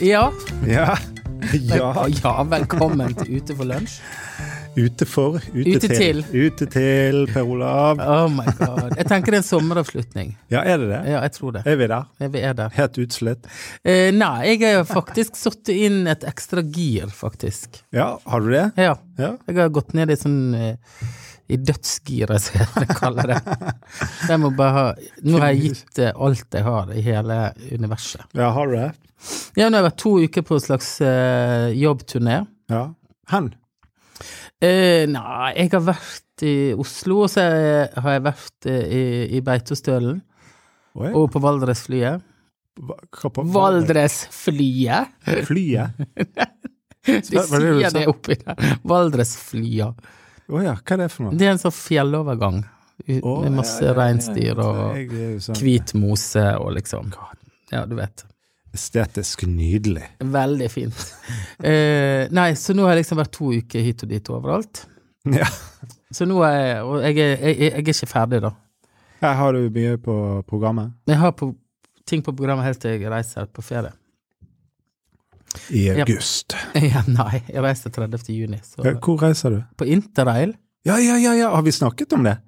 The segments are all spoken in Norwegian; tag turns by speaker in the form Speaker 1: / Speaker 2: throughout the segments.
Speaker 1: Ja,
Speaker 2: Ja.
Speaker 1: ja.
Speaker 2: ja.
Speaker 1: velkommen til Ute for lunsj.
Speaker 2: Ute for, ute,
Speaker 1: Ute
Speaker 2: til. Ute til, Per Olav.
Speaker 1: Oh my god. Jeg tenker det er en sommeravslutning.
Speaker 2: Ja, er det det?
Speaker 1: Ja, jeg tror det.
Speaker 2: Er vi der?
Speaker 1: Vi er der.
Speaker 2: Helt utslett?
Speaker 1: Eh, nei, jeg har faktisk satt inn et ekstra gir, faktisk.
Speaker 2: Ja, har du det?
Speaker 1: Ja.
Speaker 2: Ja.
Speaker 1: Jeg har gått ned i sånn eh, i dødsgiret, som jeg kaller det. Jeg må bare ha Nå har jeg gitt eh, alt jeg har i hele universet.
Speaker 2: ja, har du det?
Speaker 1: Ja, nå har jeg vært to uker på en slags eh, jobbturné.
Speaker 2: Ja. Hen?
Speaker 1: Eh, nei, jeg har vært i Oslo, og så har jeg vært eh, i, i Beitostølen.
Speaker 2: Oi.
Speaker 1: Og på Valdresflyet.
Speaker 2: hva- hva på-
Speaker 1: Valdresflyet!
Speaker 2: Flyet?
Speaker 1: De
Speaker 2: Hva er det du
Speaker 1: sier
Speaker 2: sa?
Speaker 1: det oppi der. Valdresflyet.
Speaker 2: Å ja, hva er det for noe?
Speaker 1: Det er en sånn fjellovergang u-
Speaker 2: Å,
Speaker 1: med masse
Speaker 2: ja, ja, ja, ja.
Speaker 1: reinsdyr og
Speaker 2: Jeg er jo sånn
Speaker 1: hvit mose og liksom Ja, du vet.
Speaker 2: Estetisk nydelig.
Speaker 1: Veldig fint. Eh, nei, så nå har jeg liksom vært to uker hit og dit overalt.
Speaker 2: Ja.
Speaker 1: Så nå er jeg Og jeg er, jeg, jeg er ikke ferdig, da.
Speaker 2: Her har du mye på programmet.
Speaker 1: Jeg har på, ting på programmet helt til jeg reiser på ferie.
Speaker 2: I
Speaker 1: Ja.
Speaker 2: august.
Speaker 1: Ja, nei, jeg reiser 30. juni. Så
Speaker 2: Ja, hvor reiser du?
Speaker 1: på interrail
Speaker 2: Ja, ja, ja, ja, har vi snakket om det?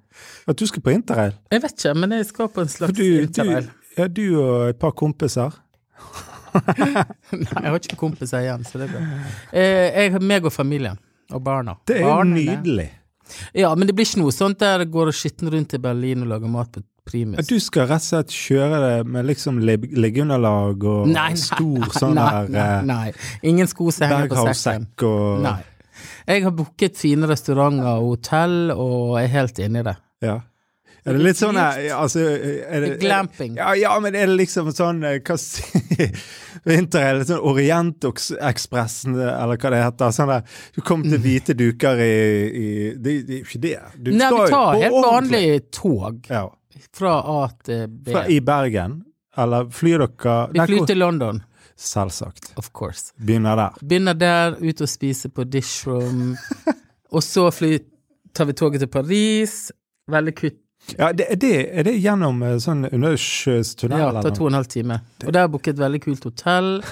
Speaker 2: At du skal på interrail?
Speaker 1: Jeg vet ikke, men jeg skal på en
Speaker 2: For
Speaker 1: slags
Speaker 2: du, du,
Speaker 1: interrail.
Speaker 2: ja, du og et par kompiser.
Speaker 1: Nei, jeg har ikke kompiser igjen, så det er bra. Eh, jeg, meg og familien. Og barna.
Speaker 2: Det er jo
Speaker 1: Barna,
Speaker 2: nydelig.
Speaker 1: Ja, men det blir ikke noe sånt der jeg går og skitner rundt i Berlin og lager mat på Primus.
Speaker 2: At du skal rett og slett kjøre det med liksom leg- legunderlag og
Speaker 1: nei, nei,
Speaker 2: stor
Speaker 1: nei,
Speaker 2: sånn
Speaker 1: nei,
Speaker 2: der
Speaker 1: nei,
Speaker 2: eh,
Speaker 1: nei. Ingen sko som henger på sekken.
Speaker 2: Berghaus-sekk og
Speaker 1: Nei. Jeg har booket fine restauranter og hotell, og er helt inne i det.
Speaker 2: Ja. Er det litt sånn eh, altså, er det,
Speaker 1: Det er glamping.
Speaker 2: Ja, ja, men er det liksom sånn eh, Hva si- Vinter er litt sånn Orientekspressen, eller hva det heter. Sånn der Du kommer til hvite duker i, i Det det er jo ikke det. Du
Speaker 1: Mm. Nei,
Speaker 2: skal
Speaker 1: vi
Speaker 2: jo
Speaker 1: tar
Speaker 2: på
Speaker 1: helt
Speaker 2: ordentlig.
Speaker 1: vanlig tog
Speaker 2: Ja.
Speaker 1: fra A til B.
Speaker 2: Fra, I Bergen? Eller flyr dere
Speaker 1: Vi
Speaker 2: Nei,
Speaker 1: flyr
Speaker 2: hvor-
Speaker 1: til London,
Speaker 2: Selvsagt.
Speaker 1: of course.
Speaker 2: Begynner der.
Speaker 1: Begynner der, ut og spise på Dishroom. og så fly, tar vi toget til Paris. Veldig kutt.
Speaker 2: Ja, det, er, det, er det gjennom eh, sånn undersjøisk tunnel?
Speaker 1: Ja, tar
Speaker 2: eller
Speaker 1: to og en halv time. Og der har jeg booket et veldig kult hotell.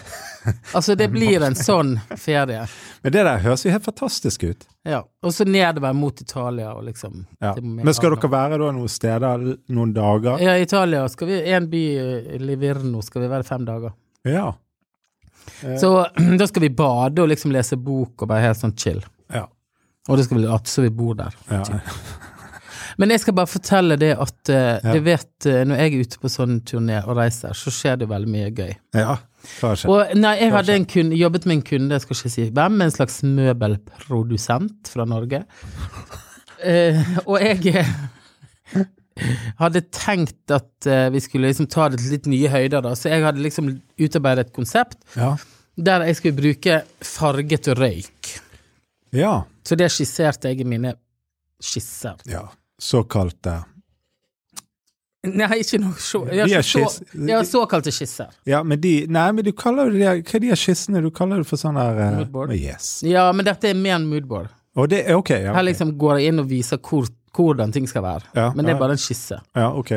Speaker 1: Altså, det blir en sånn ferie.
Speaker 2: noe? Men det der høres jo helt fantastisk ut.
Speaker 1: Ja. Og så nedover mot Italia og liksom
Speaker 2: Ja.
Speaker 1: til
Speaker 2: Men skal dere være da noen steder l- noen dager?
Speaker 1: Ja, i Italia skal vi En by, eh, Livirno, skal vi være fem dager.
Speaker 2: Ja.
Speaker 1: Så da skal vi bade og liksom lese bok og være helt sånn chill.
Speaker 2: Ja.
Speaker 1: Og det skal vi late som vi bor der.
Speaker 2: ja.
Speaker 1: Men jeg skal bare fortelle det at eh,
Speaker 2: Ja.
Speaker 1: du vet, eh, når jeg er ute på sånn turné og reiser, så skjer det veldig mye gøy.
Speaker 2: ja. Hva skjer?
Speaker 1: Og nei, jeg hadde en kunde, jobbet med en kunde, jeg skal ikke si hvem, en slags møbelprodusent fra Norge. Eh, og jeg eh, hadde tenkt at eh, vi skulle liksom ta det til litt nye høyder, da. Så jeg hadde liksom utarbeidet et konsept
Speaker 2: Ja.
Speaker 1: der jeg skulle bruke farget røyk.
Speaker 2: ja.
Speaker 1: Så det skisserte jeg i mine skisser.
Speaker 2: ja. Såkalt eh,
Speaker 1: Nei, ikke noe så, jeg har
Speaker 2: De
Speaker 1: ikke
Speaker 2: er skiss-
Speaker 1: så, jeg har såkalte skisser.
Speaker 2: Ja, men de Nei, men du kaller jo de der Hva er de her skissene? Du kaller det for sånn der eh,
Speaker 1: Moodboard.
Speaker 2: Yes.
Speaker 1: Ja, men dette er mer en moodboard.
Speaker 2: Og det er ok. Ja,
Speaker 1: Her
Speaker 2: ok.
Speaker 1: liksom går jeg inn og viser hvor, hvordan ting skal være.
Speaker 2: Ja,
Speaker 1: men det
Speaker 2: ja.
Speaker 1: er bare en skisse.
Speaker 2: Ja, ok.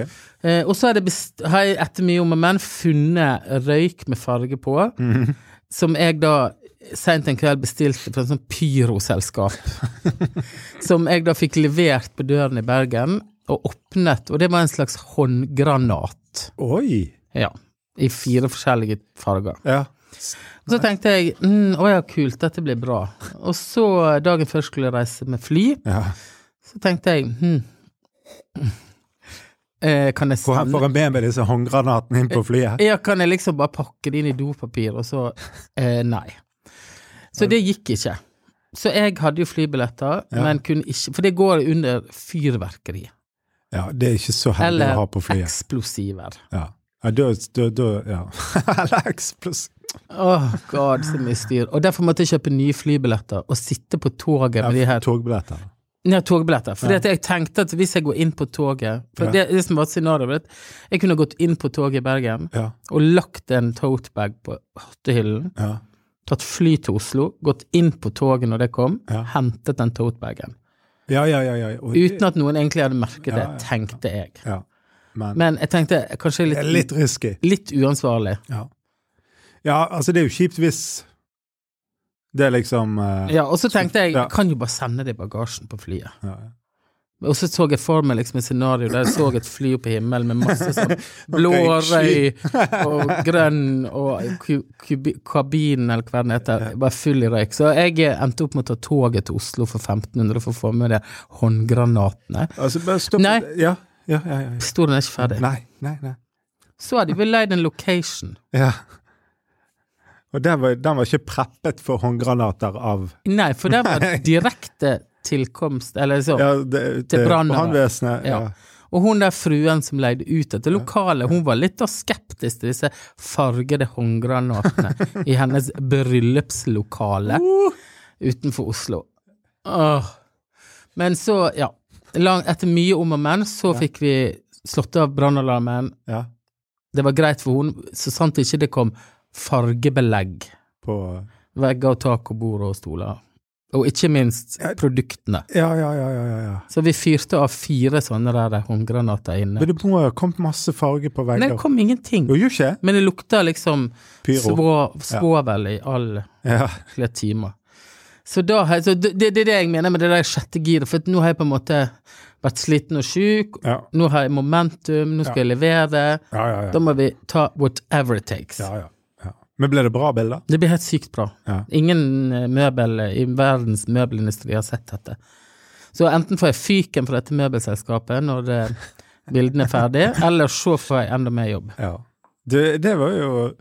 Speaker 1: Eh, og så er det best, har jeg etter mye om og men funnet røyk med farge på, som jeg da seint en kveld bestilte fra et sånt pyroselskap. som jeg da fikk levert på døren i Bergen, og åpnet, og det var en slags håndgranat.
Speaker 2: Oi.
Speaker 1: Ja. I fire forskjellige farger.
Speaker 2: Ja.
Speaker 1: Og Så tenkte jeg mm, å ja, kult, dette blir bra. Og så, dagen før skulle jeg reise med fly,
Speaker 2: ja.
Speaker 1: så tenkte jeg hm, eh, Kan jeg
Speaker 2: Hvor
Speaker 1: sende
Speaker 2: får en med meg disse håndgranatene
Speaker 1: Eh,
Speaker 2: inn på flyet?
Speaker 1: ja, Kan jeg liksom bare pakke det inn i dopapir, og så eh, Nei. Så det gikk ikke. Så jeg hadde jo flybilletter, men kunne ikke For det går under fyrverkeri.
Speaker 2: Ja, det er ikke så heldig å
Speaker 1: Eller
Speaker 2: ha på flyet.
Speaker 1: eksplosiver.
Speaker 2: Ja. Ja, da, da, da ja. Eller eksplosiv
Speaker 1: Åh, god, så mye styr. Og derfor måtte jeg kjøpe nye flybilletter og sitte på toget med de her
Speaker 2: Togbilletter.
Speaker 1: Ja, togbilletter. For jeg tenkte at hvis jeg går inn på toget For
Speaker 2: Ja.
Speaker 1: det, det som var scenarioet var at jeg kunne gått inn på toget i Bergen
Speaker 2: Ja.
Speaker 1: og lagt en totebag på hattehyllen,
Speaker 2: ja.
Speaker 1: tatt fly til Oslo, gått inn på toget når det kom,
Speaker 2: Ja.
Speaker 1: hentet den totebagen.
Speaker 2: Ja, ja, ja. ja. Og,
Speaker 1: Uten at noen egentlig hadde merket det,
Speaker 2: Ja, ja.
Speaker 1: tenkte jeg.
Speaker 2: ja. Men,
Speaker 1: Men jeg tenkte kanskje
Speaker 2: det
Speaker 1: litt,
Speaker 2: er litt risky.
Speaker 1: litt uansvarlig.
Speaker 2: Ja. Ja, altså, det er jo kjipt hvis det er liksom eh,
Speaker 1: Ja, og så tenkte jeg
Speaker 2: Ja.
Speaker 1: kan jo bare sende det i bagasjen på flyet.
Speaker 2: ja.
Speaker 1: Og så så jeg for meg liksom et scenario der jeg så et fly oppe i himmelen med masse sånn blå røy
Speaker 2: sky.
Speaker 1: og grønn og ku- kubi- kabinen eller hva den heter, bare full i røyk. Så jeg endte opp med å ta toget til Oslo for 1500 for å få med de håndgranatene.
Speaker 2: Altså, bare stopp
Speaker 1: Nei.
Speaker 2: Ja, ja, ja. ja, ja.
Speaker 1: Historien er ikke ferdig.
Speaker 2: Nei, nei, nei.
Speaker 1: Så hadde vi leid en location.
Speaker 2: Ja. Og den var, den var ikke preppet for håndgranater av
Speaker 1: Nei, for der var
Speaker 2: Nei.
Speaker 1: direkte tilkomst, eller så.
Speaker 2: ja, det,
Speaker 1: Til
Speaker 2: det-
Speaker 1: brannene.
Speaker 2: Brannvesenet.
Speaker 1: Ja.
Speaker 2: Ja.
Speaker 1: Og hun der fruen som leide ut dette lokalet, hun var litt da skeptisk til disse fargede håndgranatene i hennes bryllupslokale
Speaker 2: Uh,
Speaker 1: utenfor Oslo. Åh. Men så, ja lang, Etter mye om og men, så fikk vi slått av brannalarmen.
Speaker 2: Ja.
Speaker 1: Det var greit for hun, så sant ikke det kom fargebelegg.
Speaker 2: På
Speaker 1: Vegger og tak og bord og stoler. Og ikke minst produktene.
Speaker 2: Ja, ja, ja, ja. ja, ja.
Speaker 1: Så vi fyrte av fire sånne der håndgranater inne.
Speaker 2: Men det må jo ha kommet masse farge på
Speaker 1: Men
Speaker 2: vegger.
Speaker 1: det kom ingenting.
Speaker 2: Gjorde jo ikke?
Speaker 1: Men det lukta liksom
Speaker 2: Pyro.
Speaker 1: svå- svovel i all
Speaker 2: Ja.
Speaker 1: flere timer. Så da har jeg, så det, det er det jeg mener med det der sjette giret, for at nå har jeg på en måte vært sliten og sjuk,
Speaker 2: Ja.
Speaker 1: nå har jeg momentum, nå skal jeg levere,
Speaker 2: Ja, ja,
Speaker 1: da
Speaker 2: ja.
Speaker 1: må vi ta whatever it takes.
Speaker 2: ja, ja, ja. Men ble det bra bilder?
Speaker 1: Det blir helt sykt bra.
Speaker 2: Ja.
Speaker 1: Ingen eh, møbel i verdens møbelindustri har sett dette. Så enten får jeg fyken fra dette møbelselskapet når eh, bildene er ferdig, eller så får jeg enda mer jobb.
Speaker 2: Ja. Det, det var jo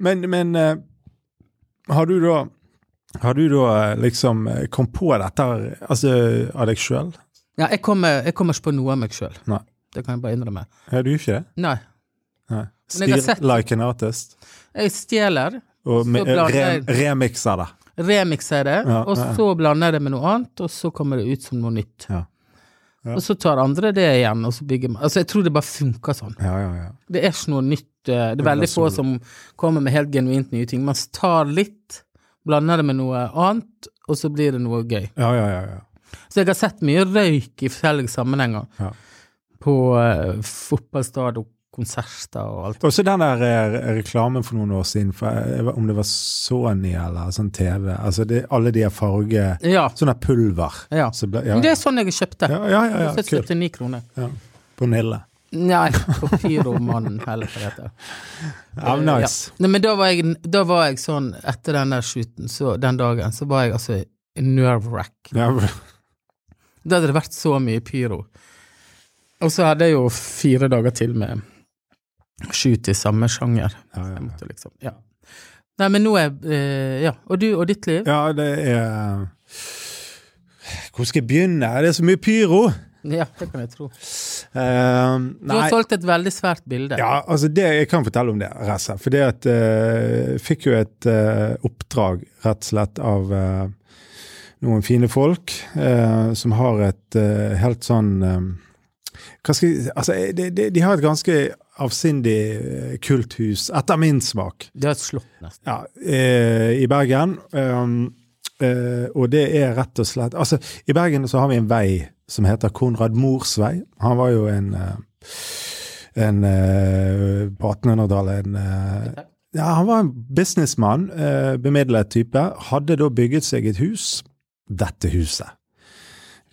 Speaker 2: Men, men eh, har du da har du da eh, liksom eh, kom på dette her, altså, av deg sjøl?
Speaker 1: Ja, jeg kommer, jeg kommer ikke på noe av meg sjøl.
Speaker 2: Nei.
Speaker 1: Det kan jeg bare innrømme.
Speaker 2: Har du ikke det?
Speaker 1: Nei.
Speaker 2: Nei.
Speaker 1: Men jeg har
Speaker 2: Styr
Speaker 1: sett-
Speaker 2: like an artist,
Speaker 1: Jeg stjeler,
Speaker 2: og med,
Speaker 1: blander
Speaker 2: re,
Speaker 1: jeg-
Speaker 2: remikser det.
Speaker 1: remikser jeg det,
Speaker 2: Ja,
Speaker 1: og
Speaker 2: ja.
Speaker 1: så blander jeg det med noe annet, og så kommer det ut som noe nytt.
Speaker 2: Ja. Ja.
Speaker 1: Og så tar andre det igjen, og så bygger man Altså, jeg tror det bare funker sånn.
Speaker 2: Ja, ja, ja.
Speaker 1: Det er ikke noe nytt. eh, Det er veldig få
Speaker 2: så-
Speaker 1: som kommer med helt genuint nye ting. Man tar litt, blander det med noe annet, og så blir det noe gøy.
Speaker 2: Ja, ja, ja, ja.
Speaker 1: Så jeg har sett mye røyk i forskjellige sammenhenger.
Speaker 2: Ja.
Speaker 1: På uh, fotballstadion, konserter og alt.
Speaker 2: Og så den der eh, reklamen for noen år siden, for, eh, om det var Sony eller sånn TV altså det, Alle de her farge...
Speaker 1: Ja.
Speaker 2: Sånn der pulver.
Speaker 1: Ja.
Speaker 2: Så ble, ja,
Speaker 1: Men det er sånn jeg kjøpte.
Speaker 2: ja, ja, ja, ja, kult.
Speaker 1: 79 kroner.
Speaker 2: Ja. På Nille.
Speaker 1: Nei, på Pyromannen heller, hva det heter.
Speaker 2: Ja, men
Speaker 1: Eh,
Speaker 2: nice.
Speaker 1: Ja. Nei, men da var, jeg, da var jeg sånn, etter den der shooten, så, den dagen, så var jeg altså i nerve-wrack.
Speaker 2: Ja.
Speaker 1: Da hadde det vært så mye pyro. Og så hadde jeg jo fire dager til med shoot i samme sjanger.
Speaker 2: Ja, ja,
Speaker 1: Jeg
Speaker 2: ja.
Speaker 1: måtte liksom, ja. Nei, men nå er eh, Ja. Og du og ditt liv?
Speaker 2: ja, det er eh, Hvor skal jeg begynne? Det er så mye pyro!
Speaker 1: Ja, det kan jeg tro. Du
Speaker 2: Eh,
Speaker 1: har
Speaker 2: nei
Speaker 1: solgt et veldig svært bilde.
Speaker 2: Ja, altså det, Jeg kan fortelle om det, Reza. For det at eh, jeg fikk jo et eh, oppdrag, rett og slett, av eh, noen fine folk eh, som har et eh, helt sånn eh, Hva skal jeg Altså, de, de, de har et ganske avsindig eh, kulthus, etter min smak
Speaker 1: Det har et slott, nesten.
Speaker 2: ja, eh, i Bergen. Um, eh, og det er rett og slett Altså, i Bergen så har vi en vei som heter Konrad Mors vei. Han var jo en eh, en eh, På 1800-tallet en eh, ja, Han var en businessmann, eh, bemidlet type. Hadde da bygget seg et hus. Dette huset.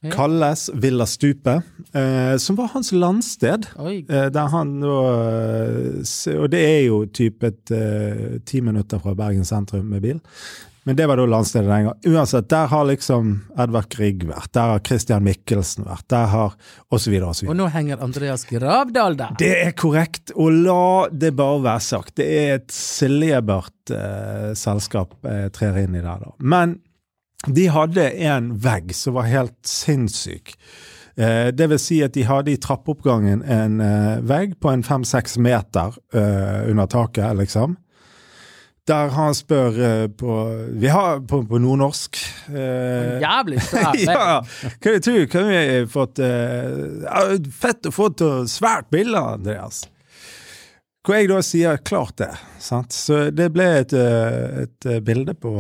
Speaker 1: Ja.
Speaker 2: Kalles Villa Stupet, eh, som var hans landsted.
Speaker 1: Oi.
Speaker 2: Eh, Der han nå eh, s- Og det er jo typ et eh, ti minutter fra Bergen sentrum med bil. Men det var da landstedet den gang. Uansett, der har liksom Edvard Grieg vært. Der har Christian Michelsen vært. Der har Og så videre og så
Speaker 1: Og
Speaker 2: videre.
Speaker 1: nå henger Andreas Gravdal der!
Speaker 2: Det er korrekt. Og la det bare være sagt. Det er et celebert eh, selskap jeg trer inn i der, da. Men de hadde en vegg som var helt sinnssyk. Eh, Det vil si at de hadde i trappeoppgangen en eh, vegg på en fem-seks meter eh, under taket, liksom. Der han spør eh, på Vi har på, på nordnorsk. eh,
Speaker 1: Jævlig svær vei.
Speaker 2: ja, kan du tro kan vi fått eh, ja, Fett å få til svært bilde, Andreas. Hvor jeg da sier 'klart det'. Sant? Så det ble et, eh, et eh, bilde på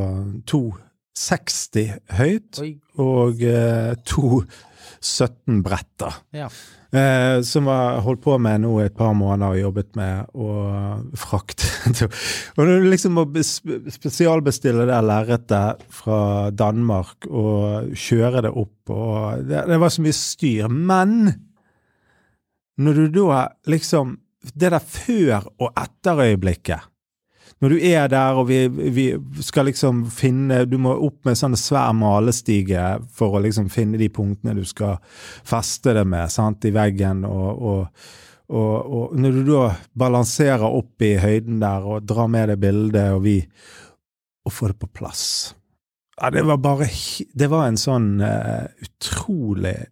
Speaker 2: 260 høyt
Speaker 1: Oi.
Speaker 2: og eh, to 17 bretter.
Speaker 1: Ja.
Speaker 2: Eh, som jeg holdt på med nå i et par måneder og jobbet med å frakte til- Og det er liksom å bes- spesialbestille det lerretet fra Danmark og kjøre det opp og det, det var så mye styr. Men når du da liksom Det der før- og etterøyeblikket når du er der og vi, vi skal liksom finne Du må opp med sånne svær malestige for å liksom finne de punktene du skal feste det med sant, i veggen. Og, og, og, og når du da balanserer opp i høyden der og drar med deg bildet og vi Og får det på plass. Ja, det var bare he- Det var en sånn eh, utrolig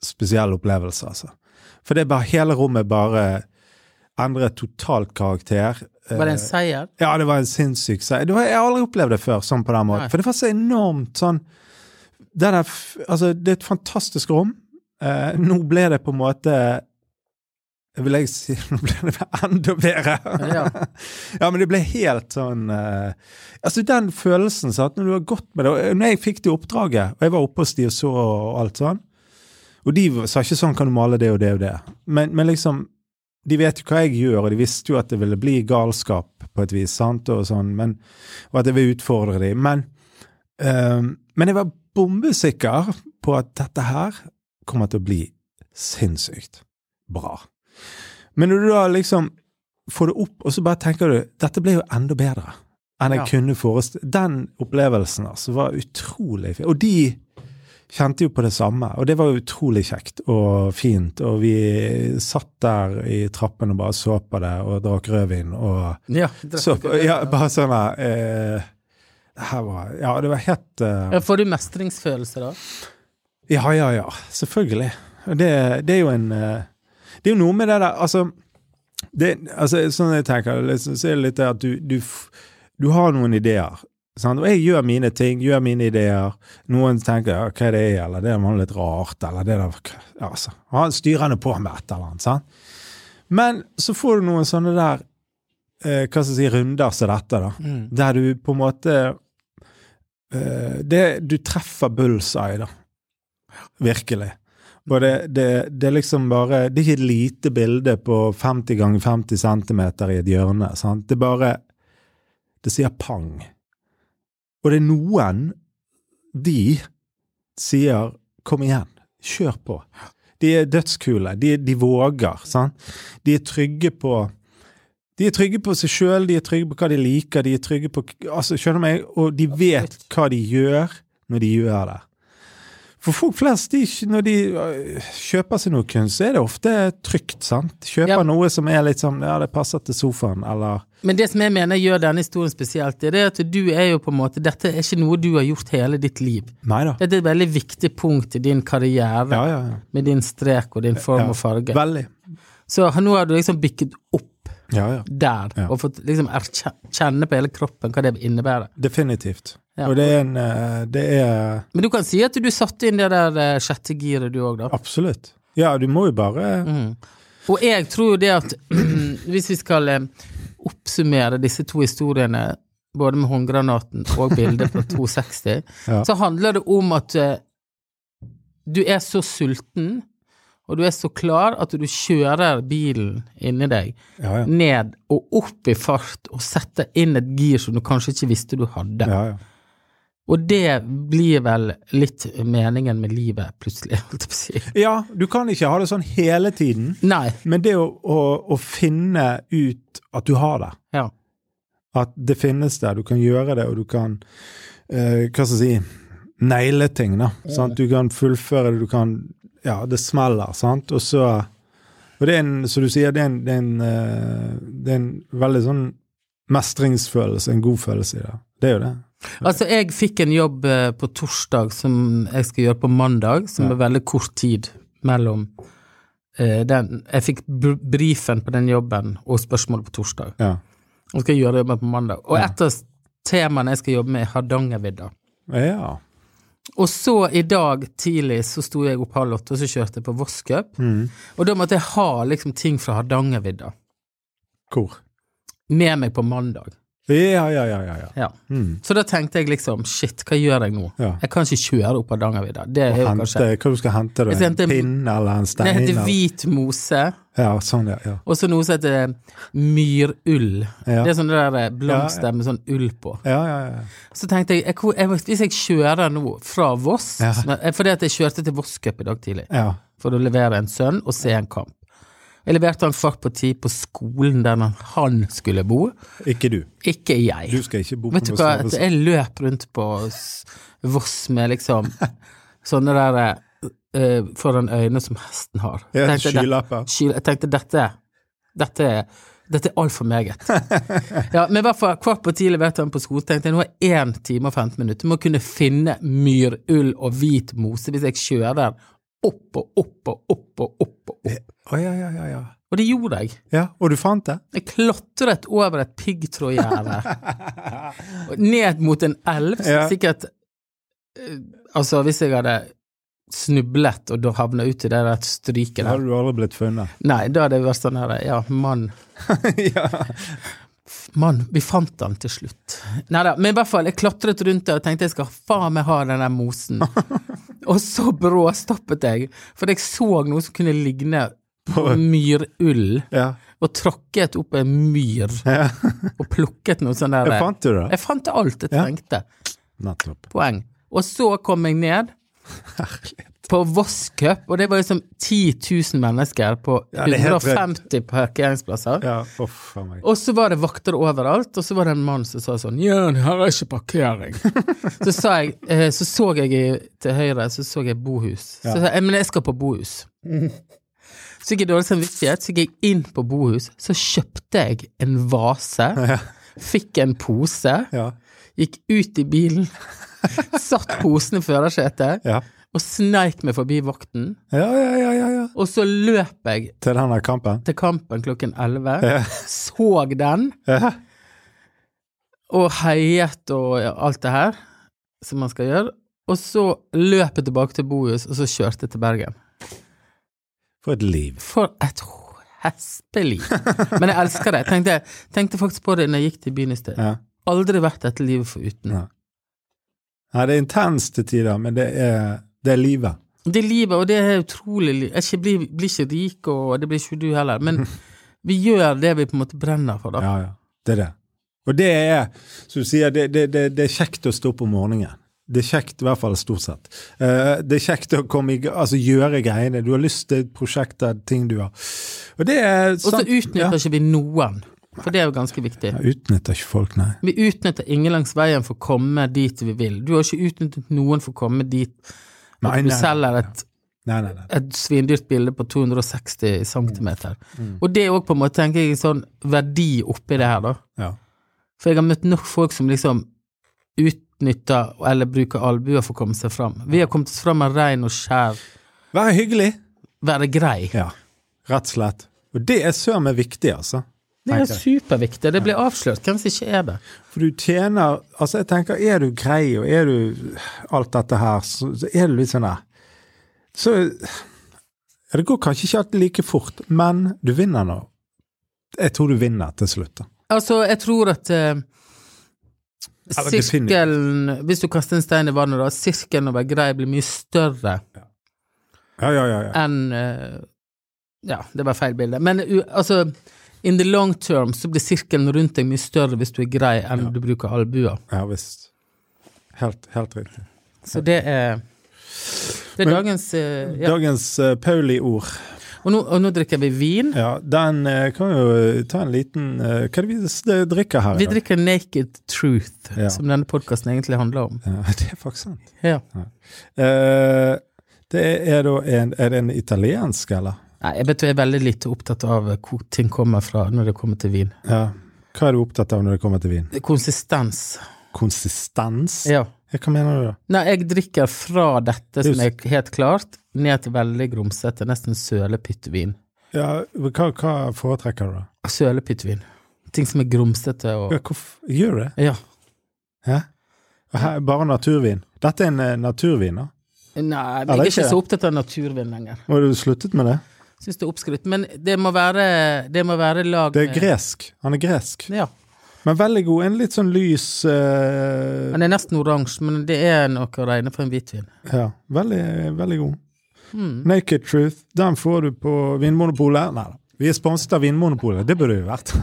Speaker 2: spesiell opplevelse, altså. For det er bare hele rommet bare endret totalt karakter.
Speaker 1: Var det
Speaker 2: eh,
Speaker 1: en seier?
Speaker 2: ja, det var en sinnssyk seier. Det var- Jeg har aldri opplevd det før sånn på den måten.
Speaker 1: Nei.
Speaker 2: For det var så enormt sånn det, der, f- altså, det er et fantastisk rom. Eh, nå ble det på en måte Vil jeg si Nå ble det enda bedre!
Speaker 1: Ja.
Speaker 2: Ja, men det ble helt sånn eh, Altså, den følelsen sant, når du har gått med det og Når jeg fikk det oppdraget, og jeg var oppe hos de og så og alt sånn Og de sa ikke sånn 'kan du male det og det og det', men, men liksom De vet jo hva jeg gjør, og de visste jo at det ville bli galskap på et vis, sant, og sånn, men Og at jeg vil utfordre dem. Men, eh, men jeg var bombesikker på at dette her kommer til å bli sinnssykt bra. Men når du da liksom får det opp, og så bare tenker du dette ble jo enda bedre enn jeg
Speaker 1: Ja.
Speaker 2: kunne forestille Den opplevelsen altså var utrolig fin. Og de kjente jo på det samme, og det var jo utrolig kjekt og fint. Og vi satt der i trappen og bare så på det og drakk rødvin og
Speaker 1: Ja,
Speaker 2: så, ja, bare sånn her eh, det her var, Ja, det var helt eh,
Speaker 1: Ja, Får du mestringsfølelse da?
Speaker 2: Ja, ja, ja. Selvfølgelig. Og Det, det er jo en eh, Det er jo noe med det der Altså, det, altså sånn jeg tenker liksom, så er det litt det at du, du f- Du har noen ideer. Sant? Og jeg gjør mine ting, gjør mine ideer. Noen tenker ja, 'hva er det er', eller 'det var litt rart', eller det der, ja, altså, Han styrer nå på med et eller annet. Sant? Men så får du noen sånne der eh, hva skal jeg si, runder som dette, da.
Speaker 1: Mm.
Speaker 2: Der du på en måte eh, det, Du treffer bullseye, da. Virkelig. Og det, det, det er liksom bare Det er ikke et lite bilde på 50 ganger 50 cm i et hjørne. Sant? Det er bare Det sier pang. Og det er noen De sier 'kom igjen, kjør på'. De er dødskule. De, de våger. Sant? De er trygge på de er trygge på seg sjøl, de er trygge på hva de liker, de er trygge på altså, Skjønner du meg? Og de vet hva de gjør når de gjør det. For folk flest, de, når de øh, kjøper seg noe kunst, så er det ofte trygt, sant? Kjøper
Speaker 1: Ja.
Speaker 2: noe som er litt sånn Ja, det passer til sofaen, eller
Speaker 1: Men det som jeg mener gjør denne historien spesielt, det er at du er jo på en måte Dette er ikke noe du har gjort hele ditt liv.
Speaker 2: Nei da.
Speaker 1: Dette er et veldig viktig punkt i din karriere,
Speaker 2: Ja, ja, ja.
Speaker 1: med din strek og din form
Speaker 2: Ja.
Speaker 1: og farge.
Speaker 2: Veldig.
Speaker 1: Så nå har du liksom bykket opp
Speaker 2: Ja, ja.
Speaker 1: der,
Speaker 2: Ja.
Speaker 1: og fått liksom erkje- kjenne på hele kroppen hva det innebærer.
Speaker 2: Definitivt.
Speaker 1: Ja.
Speaker 2: Og det er en øh, Det er
Speaker 1: Men du kan si at du satte inn det der eh, sjette giret, du òg, da.
Speaker 2: Absolutt. Ja, du må jo bare
Speaker 1: Mm. Og jeg tror jo det at hvis vi skal eh, oppsummere disse to historiene, både med håndgranaten og bildet på 260,
Speaker 2: Ja.
Speaker 1: så handler det om at eh, du er så sulten, og du er så klar at du kjører bilen inni deg
Speaker 2: Ja, ja.
Speaker 1: ned og opp i fart og setter inn et gir som du kanskje ikke visste du hadde.
Speaker 2: ja, ja.
Speaker 1: Og det blir vel litt meningen med livet, plutselig, holdt jeg på å si.
Speaker 2: ja du kan ikke ha det sånn hele tiden.
Speaker 1: Nei.
Speaker 2: Men det å, å, å finne ut at du har det,
Speaker 1: Ja.
Speaker 2: at det finnes der, du kan gjøre det, og du kan eh, Hva skal jeg si Negle ting, da. Sant? Du kan fullføre det, du kan Ja, det smeller, sant? Og så Og det er en, som du sier, det er en, det er en, eh, det er en veldig sånn mestringsfølelse, en god følelse i det. Det er jo det.
Speaker 1: Altså, jeg fikk en jobb eh, på torsdag som jeg skal gjøre på mandag, som er veldig kort tid mellom eh, den Jeg fikk br- brifen på den jobben og spørsmålet på torsdag.
Speaker 2: Ja.
Speaker 1: Og skal gjøre jobben på mandag. Og et av temaene jeg skal jobbe med, er Hardangervidda.
Speaker 2: ja.
Speaker 1: Og så i dag tidlig så sto jeg opp halv åtte, og så kjørte jeg på Voss Cup. Og da måtte jeg ha liksom ting fra Hardangervidda
Speaker 2: Hvor?
Speaker 1: med meg på mandag.
Speaker 2: Ja, ja, ja. ja, ja.
Speaker 1: Ja.
Speaker 2: Mm.
Speaker 1: Så da tenkte jeg liksom shit, hva gjør jeg nå?
Speaker 2: Ja.
Speaker 1: Jeg kan ikke kjøre opp Hardangervidda. Det er jo
Speaker 2: Hente,
Speaker 1: kanskje
Speaker 2: hva du skal hente? Du?
Speaker 1: Jeg skal
Speaker 2: En
Speaker 1: hente en-
Speaker 2: pinne eller en stein?
Speaker 1: Det heter
Speaker 2: eller-
Speaker 1: hvit mose.
Speaker 2: Ja, sånn, ja. ja.
Speaker 1: Og så noe som heter myrull.
Speaker 2: Ja.
Speaker 1: Det er sånne der eh, blomster med sånn ull på.
Speaker 2: Ja, ja, ja.
Speaker 1: Så tenkte jeg, jeg, hvor- jeg hvis jeg kjører nå fra Voss
Speaker 2: Ja.
Speaker 1: som jeg- Fordi at jeg kjørte til Voss Cup i dag tidlig
Speaker 2: ja.
Speaker 1: for å levere en sønn og se en kamp. Jeg leverte han kvart på ti på skolen der han skulle bo,
Speaker 2: Ikke du.
Speaker 1: ikke jeg.
Speaker 2: Du skal ikke bo på
Speaker 1: Vet du
Speaker 2: noe
Speaker 1: hva, at
Speaker 2: slaveskap.
Speaker 1: jeg løp rundt på s- Voss med liksom sånne der eh, foran øynene som hesten har.
Speaker 2: Ja,
Speaker 1: Tenkte jeg,
Speaker 2: skylapper.
Speaker 1: det- sky- Jeg tenkte dette dette, er- dette er altfor meget. ja, men i hvert fall kvart på ti leverte han på skolen, tenkte jeg nå er én time og 15 minutter. Du må kunne finne myrull og hvit mose hvis jeg kjører opp og opp og opp og opp. Og, opp.
Speaker 2: Å, ja, ja, ja, ja.
Speaker 1: og det gjorde jeg.
Speaker 2: ja. Og du fant det?
Speaker 1: Jeg klatret over et piggtrådgjerde. og ned mot en elv, som
Speaker 2: Ja.
Speaker 1: sikkert eh, Altså, hvis jeg hadde snublet og da havna uti det der stryket
Speaker 2: Da
Speaker 1: der
Speaker 2: hadde du aldri blitt funnet.
Speaker 1: Nei, da hadde jeg vært sånn her Ja, mann.
Speaker 2: ja.
Speaker 1: Mann, vi fant han til slutt. Nei da, men i hvert fall, jeg klatret rundt der og tenkte jeg skal faen meg ha den der mosen. og så bråstoppet jeg, for jeg så noe som kunne ligne på myrull,
Speaker 2: ja.
Speaker 1: og tråkket opp en myr
Speaker 2: ja.
Speaker 1: og plukket noe sånn der
Speaker 2: Jeg fant du det?
Speaker 1: Jeg fant alt jeg
Speaker 2: Ja.
Speaker 1: trengte.
Speaker 2: Nettopp.
Speaker 1: poeng. Og så kom jeg ned på Voss Cup, og det var liksom 10 000 mennesker på
Speaker 2: Ja, det er helt
Speaker 1: 150 parkeringsplasser.
Speaker 2: Ja, uff a meg.
Speaker 1: Og så var det vakter overalt, og så var det en mann som sa sånn Ja, det her er ikke parkering. så sa jeg, eh, så så jeg i- til høyre, så så jeg bohus. Så
Speaker 2: Ja.
Speaker 1: sa jeg, "Eh, men jeg skal på bohus. Så fikk jeg dårlig samvittighet, så gikk jeg inn på bohus, så kjøpte jeg en vase,
Speaker 2: Ja.
Speaker 1: fikk en pose,
Speaker 2: Ja.
Speaker 1: gikk ut i bilen, satt posen i førersetet
Speaker 2: Ja.
Speaker 1: og sneik meg forbi vakten.
Speaker 2: Ja, ja, ja, ja, ja.
Speaker 1: Og så løp jeg
Speaker 2: Til denne kampen?
Speaker 1: til kampen klokken 11,
Speaker 2: Ja.
Speaker 1: så den,
Speaker 2: Ja.
Speaker 1: og heiet og ja, alt det her som man skal gjøre. Og så løp jeg tilbake til Bohus, og så kjørte jeg til Bergen.
Speaker 2: For et liv.
Speaker 1: For et hesteliv! Men jeg elsker det. Jeg tenkte, tenkte faktisk på det når jeg gikk til byen i sted.
Speaker 2: Ja.
Speaker 1: Aldri vært dette livet foruten.
Speaker 2: Nei. Nei, det er intenst til tider, men det er, det er livet.
Speaker 1: Det livet, og det er utrolig li- Jeg ikke blir, blir ikke rik, og det blir ikke du heller, men vi gjør det vi på en måte brenner for, da.
Speaker 2: Ja, ja. Det er det. Og det er, som du sier, det, det, det, det er kjekt å stå opp om morgenen. Det er kjekt, i hvert fall stort sett. Eh, det er kjekt å komme i, g- altså gjøre greiene. Du har lyst til prosjekter, ting du har. Og det er
Speaker 1: Og så
Speaker 2: sant-
Speaker 1: utnytter ikke vi noen, for det er jo ganske viktig.
Speaker 2: Sånn, Ja, utnytter ikke folk, nei.
Speaker 1: Vi utnytter ingen langs veien for å komme dit vi vil. Du har ikke utnyttet noen for å komme dit
Speaker 2: Nei,
Speaker 1: at du
Speaker 2: nei,
Speaker 1: selger et,
Speaker 2: Nei, nei, nei.
Speaker 1: et svindyrt bilde på 260 cm.
Speaker 2: Mm.
Speaker 1: Og det er òg på en måte, tenker jeg, en sånn verdi oppi det her, da.
Speaker 2: Ja.
Speaker 1: For jeg har møtt nok folk som liksom utnytter eller bruker albuer for å komme seg fram. Vi har kommet oss fram med rein og skjær,
Speaker 2: Være hyggelig.
Speaker 1: være grei.
Speaker 2: Ja, rett og slett. Og det er søren meg viktig, altså.
Speaker 1: Det er
Speaker 2: tenker jeg.
Speaker 1: superviktig. Det blir avslørt hvem som ikke er det.
Speaker 2: For du tjener Altså, jeg tenker, er du grei, og er du alt dette her, så, så er du litt sånn der Så ja, Det går kanskje ikke alltid like fort, men du vinner nå. Jeg tror du vinner til slutt, da.
Speaker 1: Altså, jeg tror at eh,
Speaker 2: Eller definitivt.
Speaker 1: sirkelen Hvis du kaster en stein i vannet, da, sirkelen over grei blir mye større
Speaker 2: Ja, ja, ja. ja.
Speaker 1: enn eh, Ja, det var feil bilde. Men u- altså, in the long term så blir sirkelen rundt deg mye større hvis du er grei enn du bruker albuer.
Speaker 2: Ja visst. Helt, helt riktig.
Speaker 1: Så det er Det er
Speaker 2: Men-
Speaker 1: dagens eh, ja.
Speaker 2: Dagens eh, Pauli-ord,
Speaker 1: og, nå, og nå drikker vi vin.
Speaker 2: ja, den eh, kan jo eh, ta en liten eh, Hva er det vi s- drikker her? i
Speaker 1: Vi
Speaker 2: dag?
Speaker 1: drikker Naked Truth,
Speaker 2: Ja.
Speaker 1: som denne podkasten egentlig handler om.
Speaker 2: Ja, det er faktisk sant.
Speaker 1: Ja.
Speaker 2: Eh, det er da en Er det en italiensk, eller?
Speaker 1: Nei, jeg vet du jeg er veldig lite opptatt av hvor ting kommer fra når det kommer til vin.
Speaker 2: Ja. Hva er du opptatt av når det kommer til vin?
Speaker 1: Konsistens.
Speaker 2: Konsistens?
Speaker 1: Ja.
Speaker 2: Ja, Hva mener du da?
Speaker 1: Nei, jeg drikker fra dette som
Speaker 2: Just.
Speaker 1: er helt klart, ned til veldig grumsete, nesten sølepyttvin.
Speaker 2: Ja, hva, hva foretrekker du da?
Speaker 1: Sølepyttvin. Ting som er grumsete og
Speaker 2: Ja, hvorf- gjør du det?
Speaker 1: Ja.
Speaker 2: Ja? Her, bare naturvin? Dette er en eh, naturvin, da?
Speaker 1: Nei, men
Speaker 2: Ja,
Speaker 1: jeg
Speaker 2: det er
Speaker 1: er
Speaker 2: ikke
Speaker 1: ikke
Speaker 2: det.
Speaker 1: så opptatt av naturvin lenger.
Speaker 2: Har du sluttet med det?
Speaker 1: Syns det er oppskrytt. Men det må være, det må være lag
Speaker 2: Det er gresk. Han er gresk.
Speaker 1: Ja.
Speaker 2: Men veldig god. En litt sånn lys eh,
Speaker 1: Den er nesten oransje, men det er noe å regne for en hvitvin.
Speaker 2: Ja, veldig, veldig god.
Speaker 1: Mm.
Speaker 2: Naked Truth, den får du på Vinmonopolet. Nei da. Vi er sponset av Vinmonopolet, det burde vi vært.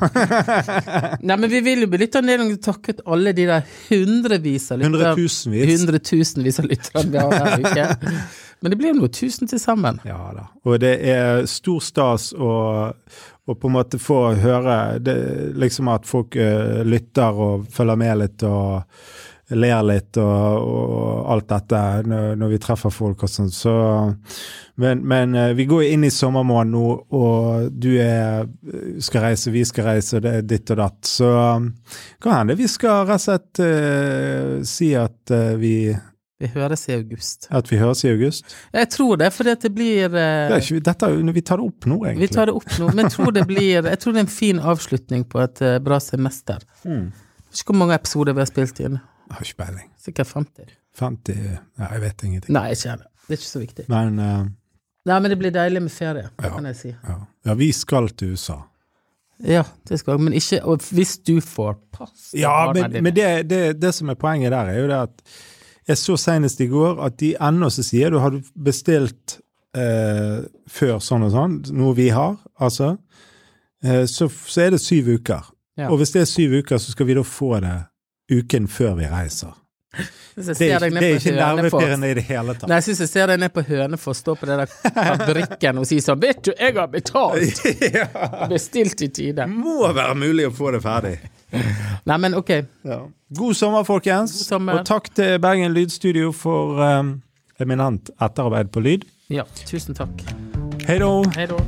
Speaker 1: Nei, men vi vil jo benytte anledningen til å takke ut alle de der hundrevis av lyttere.
Speaker 2: Hundretusenvis.
Speaker 1: Hundretusenvis av lyttere vi har hver uke. Men det blir jo noe tusen til sammen.
Speaker 2: Ja da. Og det er stor stas å, å på en måte få høre det, liksom at folk eh, lytter og følger med litt og ler litt og, og alt dette når, når vi treffer folk og sånn. Så, men, men eh, vi går jo inn i sommermåneden nå, og du er, eh, skal reise, vi skal reise, og det er ditt og datt. Så hva hender vi skal rett og slett eh, si at eh, vi
Speaker 1: Vi høres i august.
Speaker 2: at vi høres i august.
Speaker 1: Jeg tror det, fordi at det blir eh,
Speaker 2: Det er ikke, dette, er jo- vi tar det opp nå, egentlig.
Speaker 1: Vi tar det opp nå, men jeg tror det blir Jeg tror det er en fin avslutning på et eh, bra semester.
Speaker 2: Mm.
Speaker 1: Vet ikke hvor mange episoder vi har spilt inn.
Speaker 2: Jeg har ikke peiling.
Speaker 1: Sikkert 50.
Speaker 2: 50 ja, Jeg vet ingenting.
Speaker 1: Nei, ikke heller. Det er ikke så viktig.
Speaker 2: Men eh,
Speaker 1: Nei, men det blir deilig med ferie,
Speaker 2: Ja.
Speaker 1: kan jeg si.
Speaker 2: ja. ja, vi skal til USA.
Speaker 1: Ja, det skal jeg, men ikke Og hvis du får pass
Speaker 2: Ja,
Speaker 1: barna
Speaker 2: men,
Speaker 1: dine.
Speaker 2: men det, det, det som er poenget der, er jo det at jeg så senest i går at de ennå så sier du har du bestilt eh, før sånn og sånn, noe vi har, altså, eh, så, så er det syv uker.
Speaker 1: Ja.
Speaker 2: Og hvis det er syv uker, så skal vi da få det uken før vi reiser.
Speaker 1: Hvis jeg
Speaker 2: Det
Speaker 1: ser
Speaker 2: er,
Speaker 1: deg
Speaker 2: ikke-
Speaker 1: ned
Speaker 2: det er
Speaker 1: på
Speaker 2: ikke
Speaker 1: Hønefoss
Speaker 2: nervepirrende i det hele tatt.
Speaker 1: Nei, jeg syns jeg ser deg ned på Hønefoss, stå på den der fabrikken og si sånn Vet du, jeg har betalt!
Speaker 2: ja.
Speaker 1: Bestilt i tide.
Speaker 2: Må være mulig å få det ferdig.
Speaker 1: Nei, men ok.
Speaker 2: God sommer, folkens.
Speaker 1: God sommer.
Speaker 2: Og takk til Bergen Lydstudio for eh, eminent etterarbeid på lyd.
Speaker 1: Ja, tusen takk.
Speaker 2: Hei då!
Speaker 1: Hei da.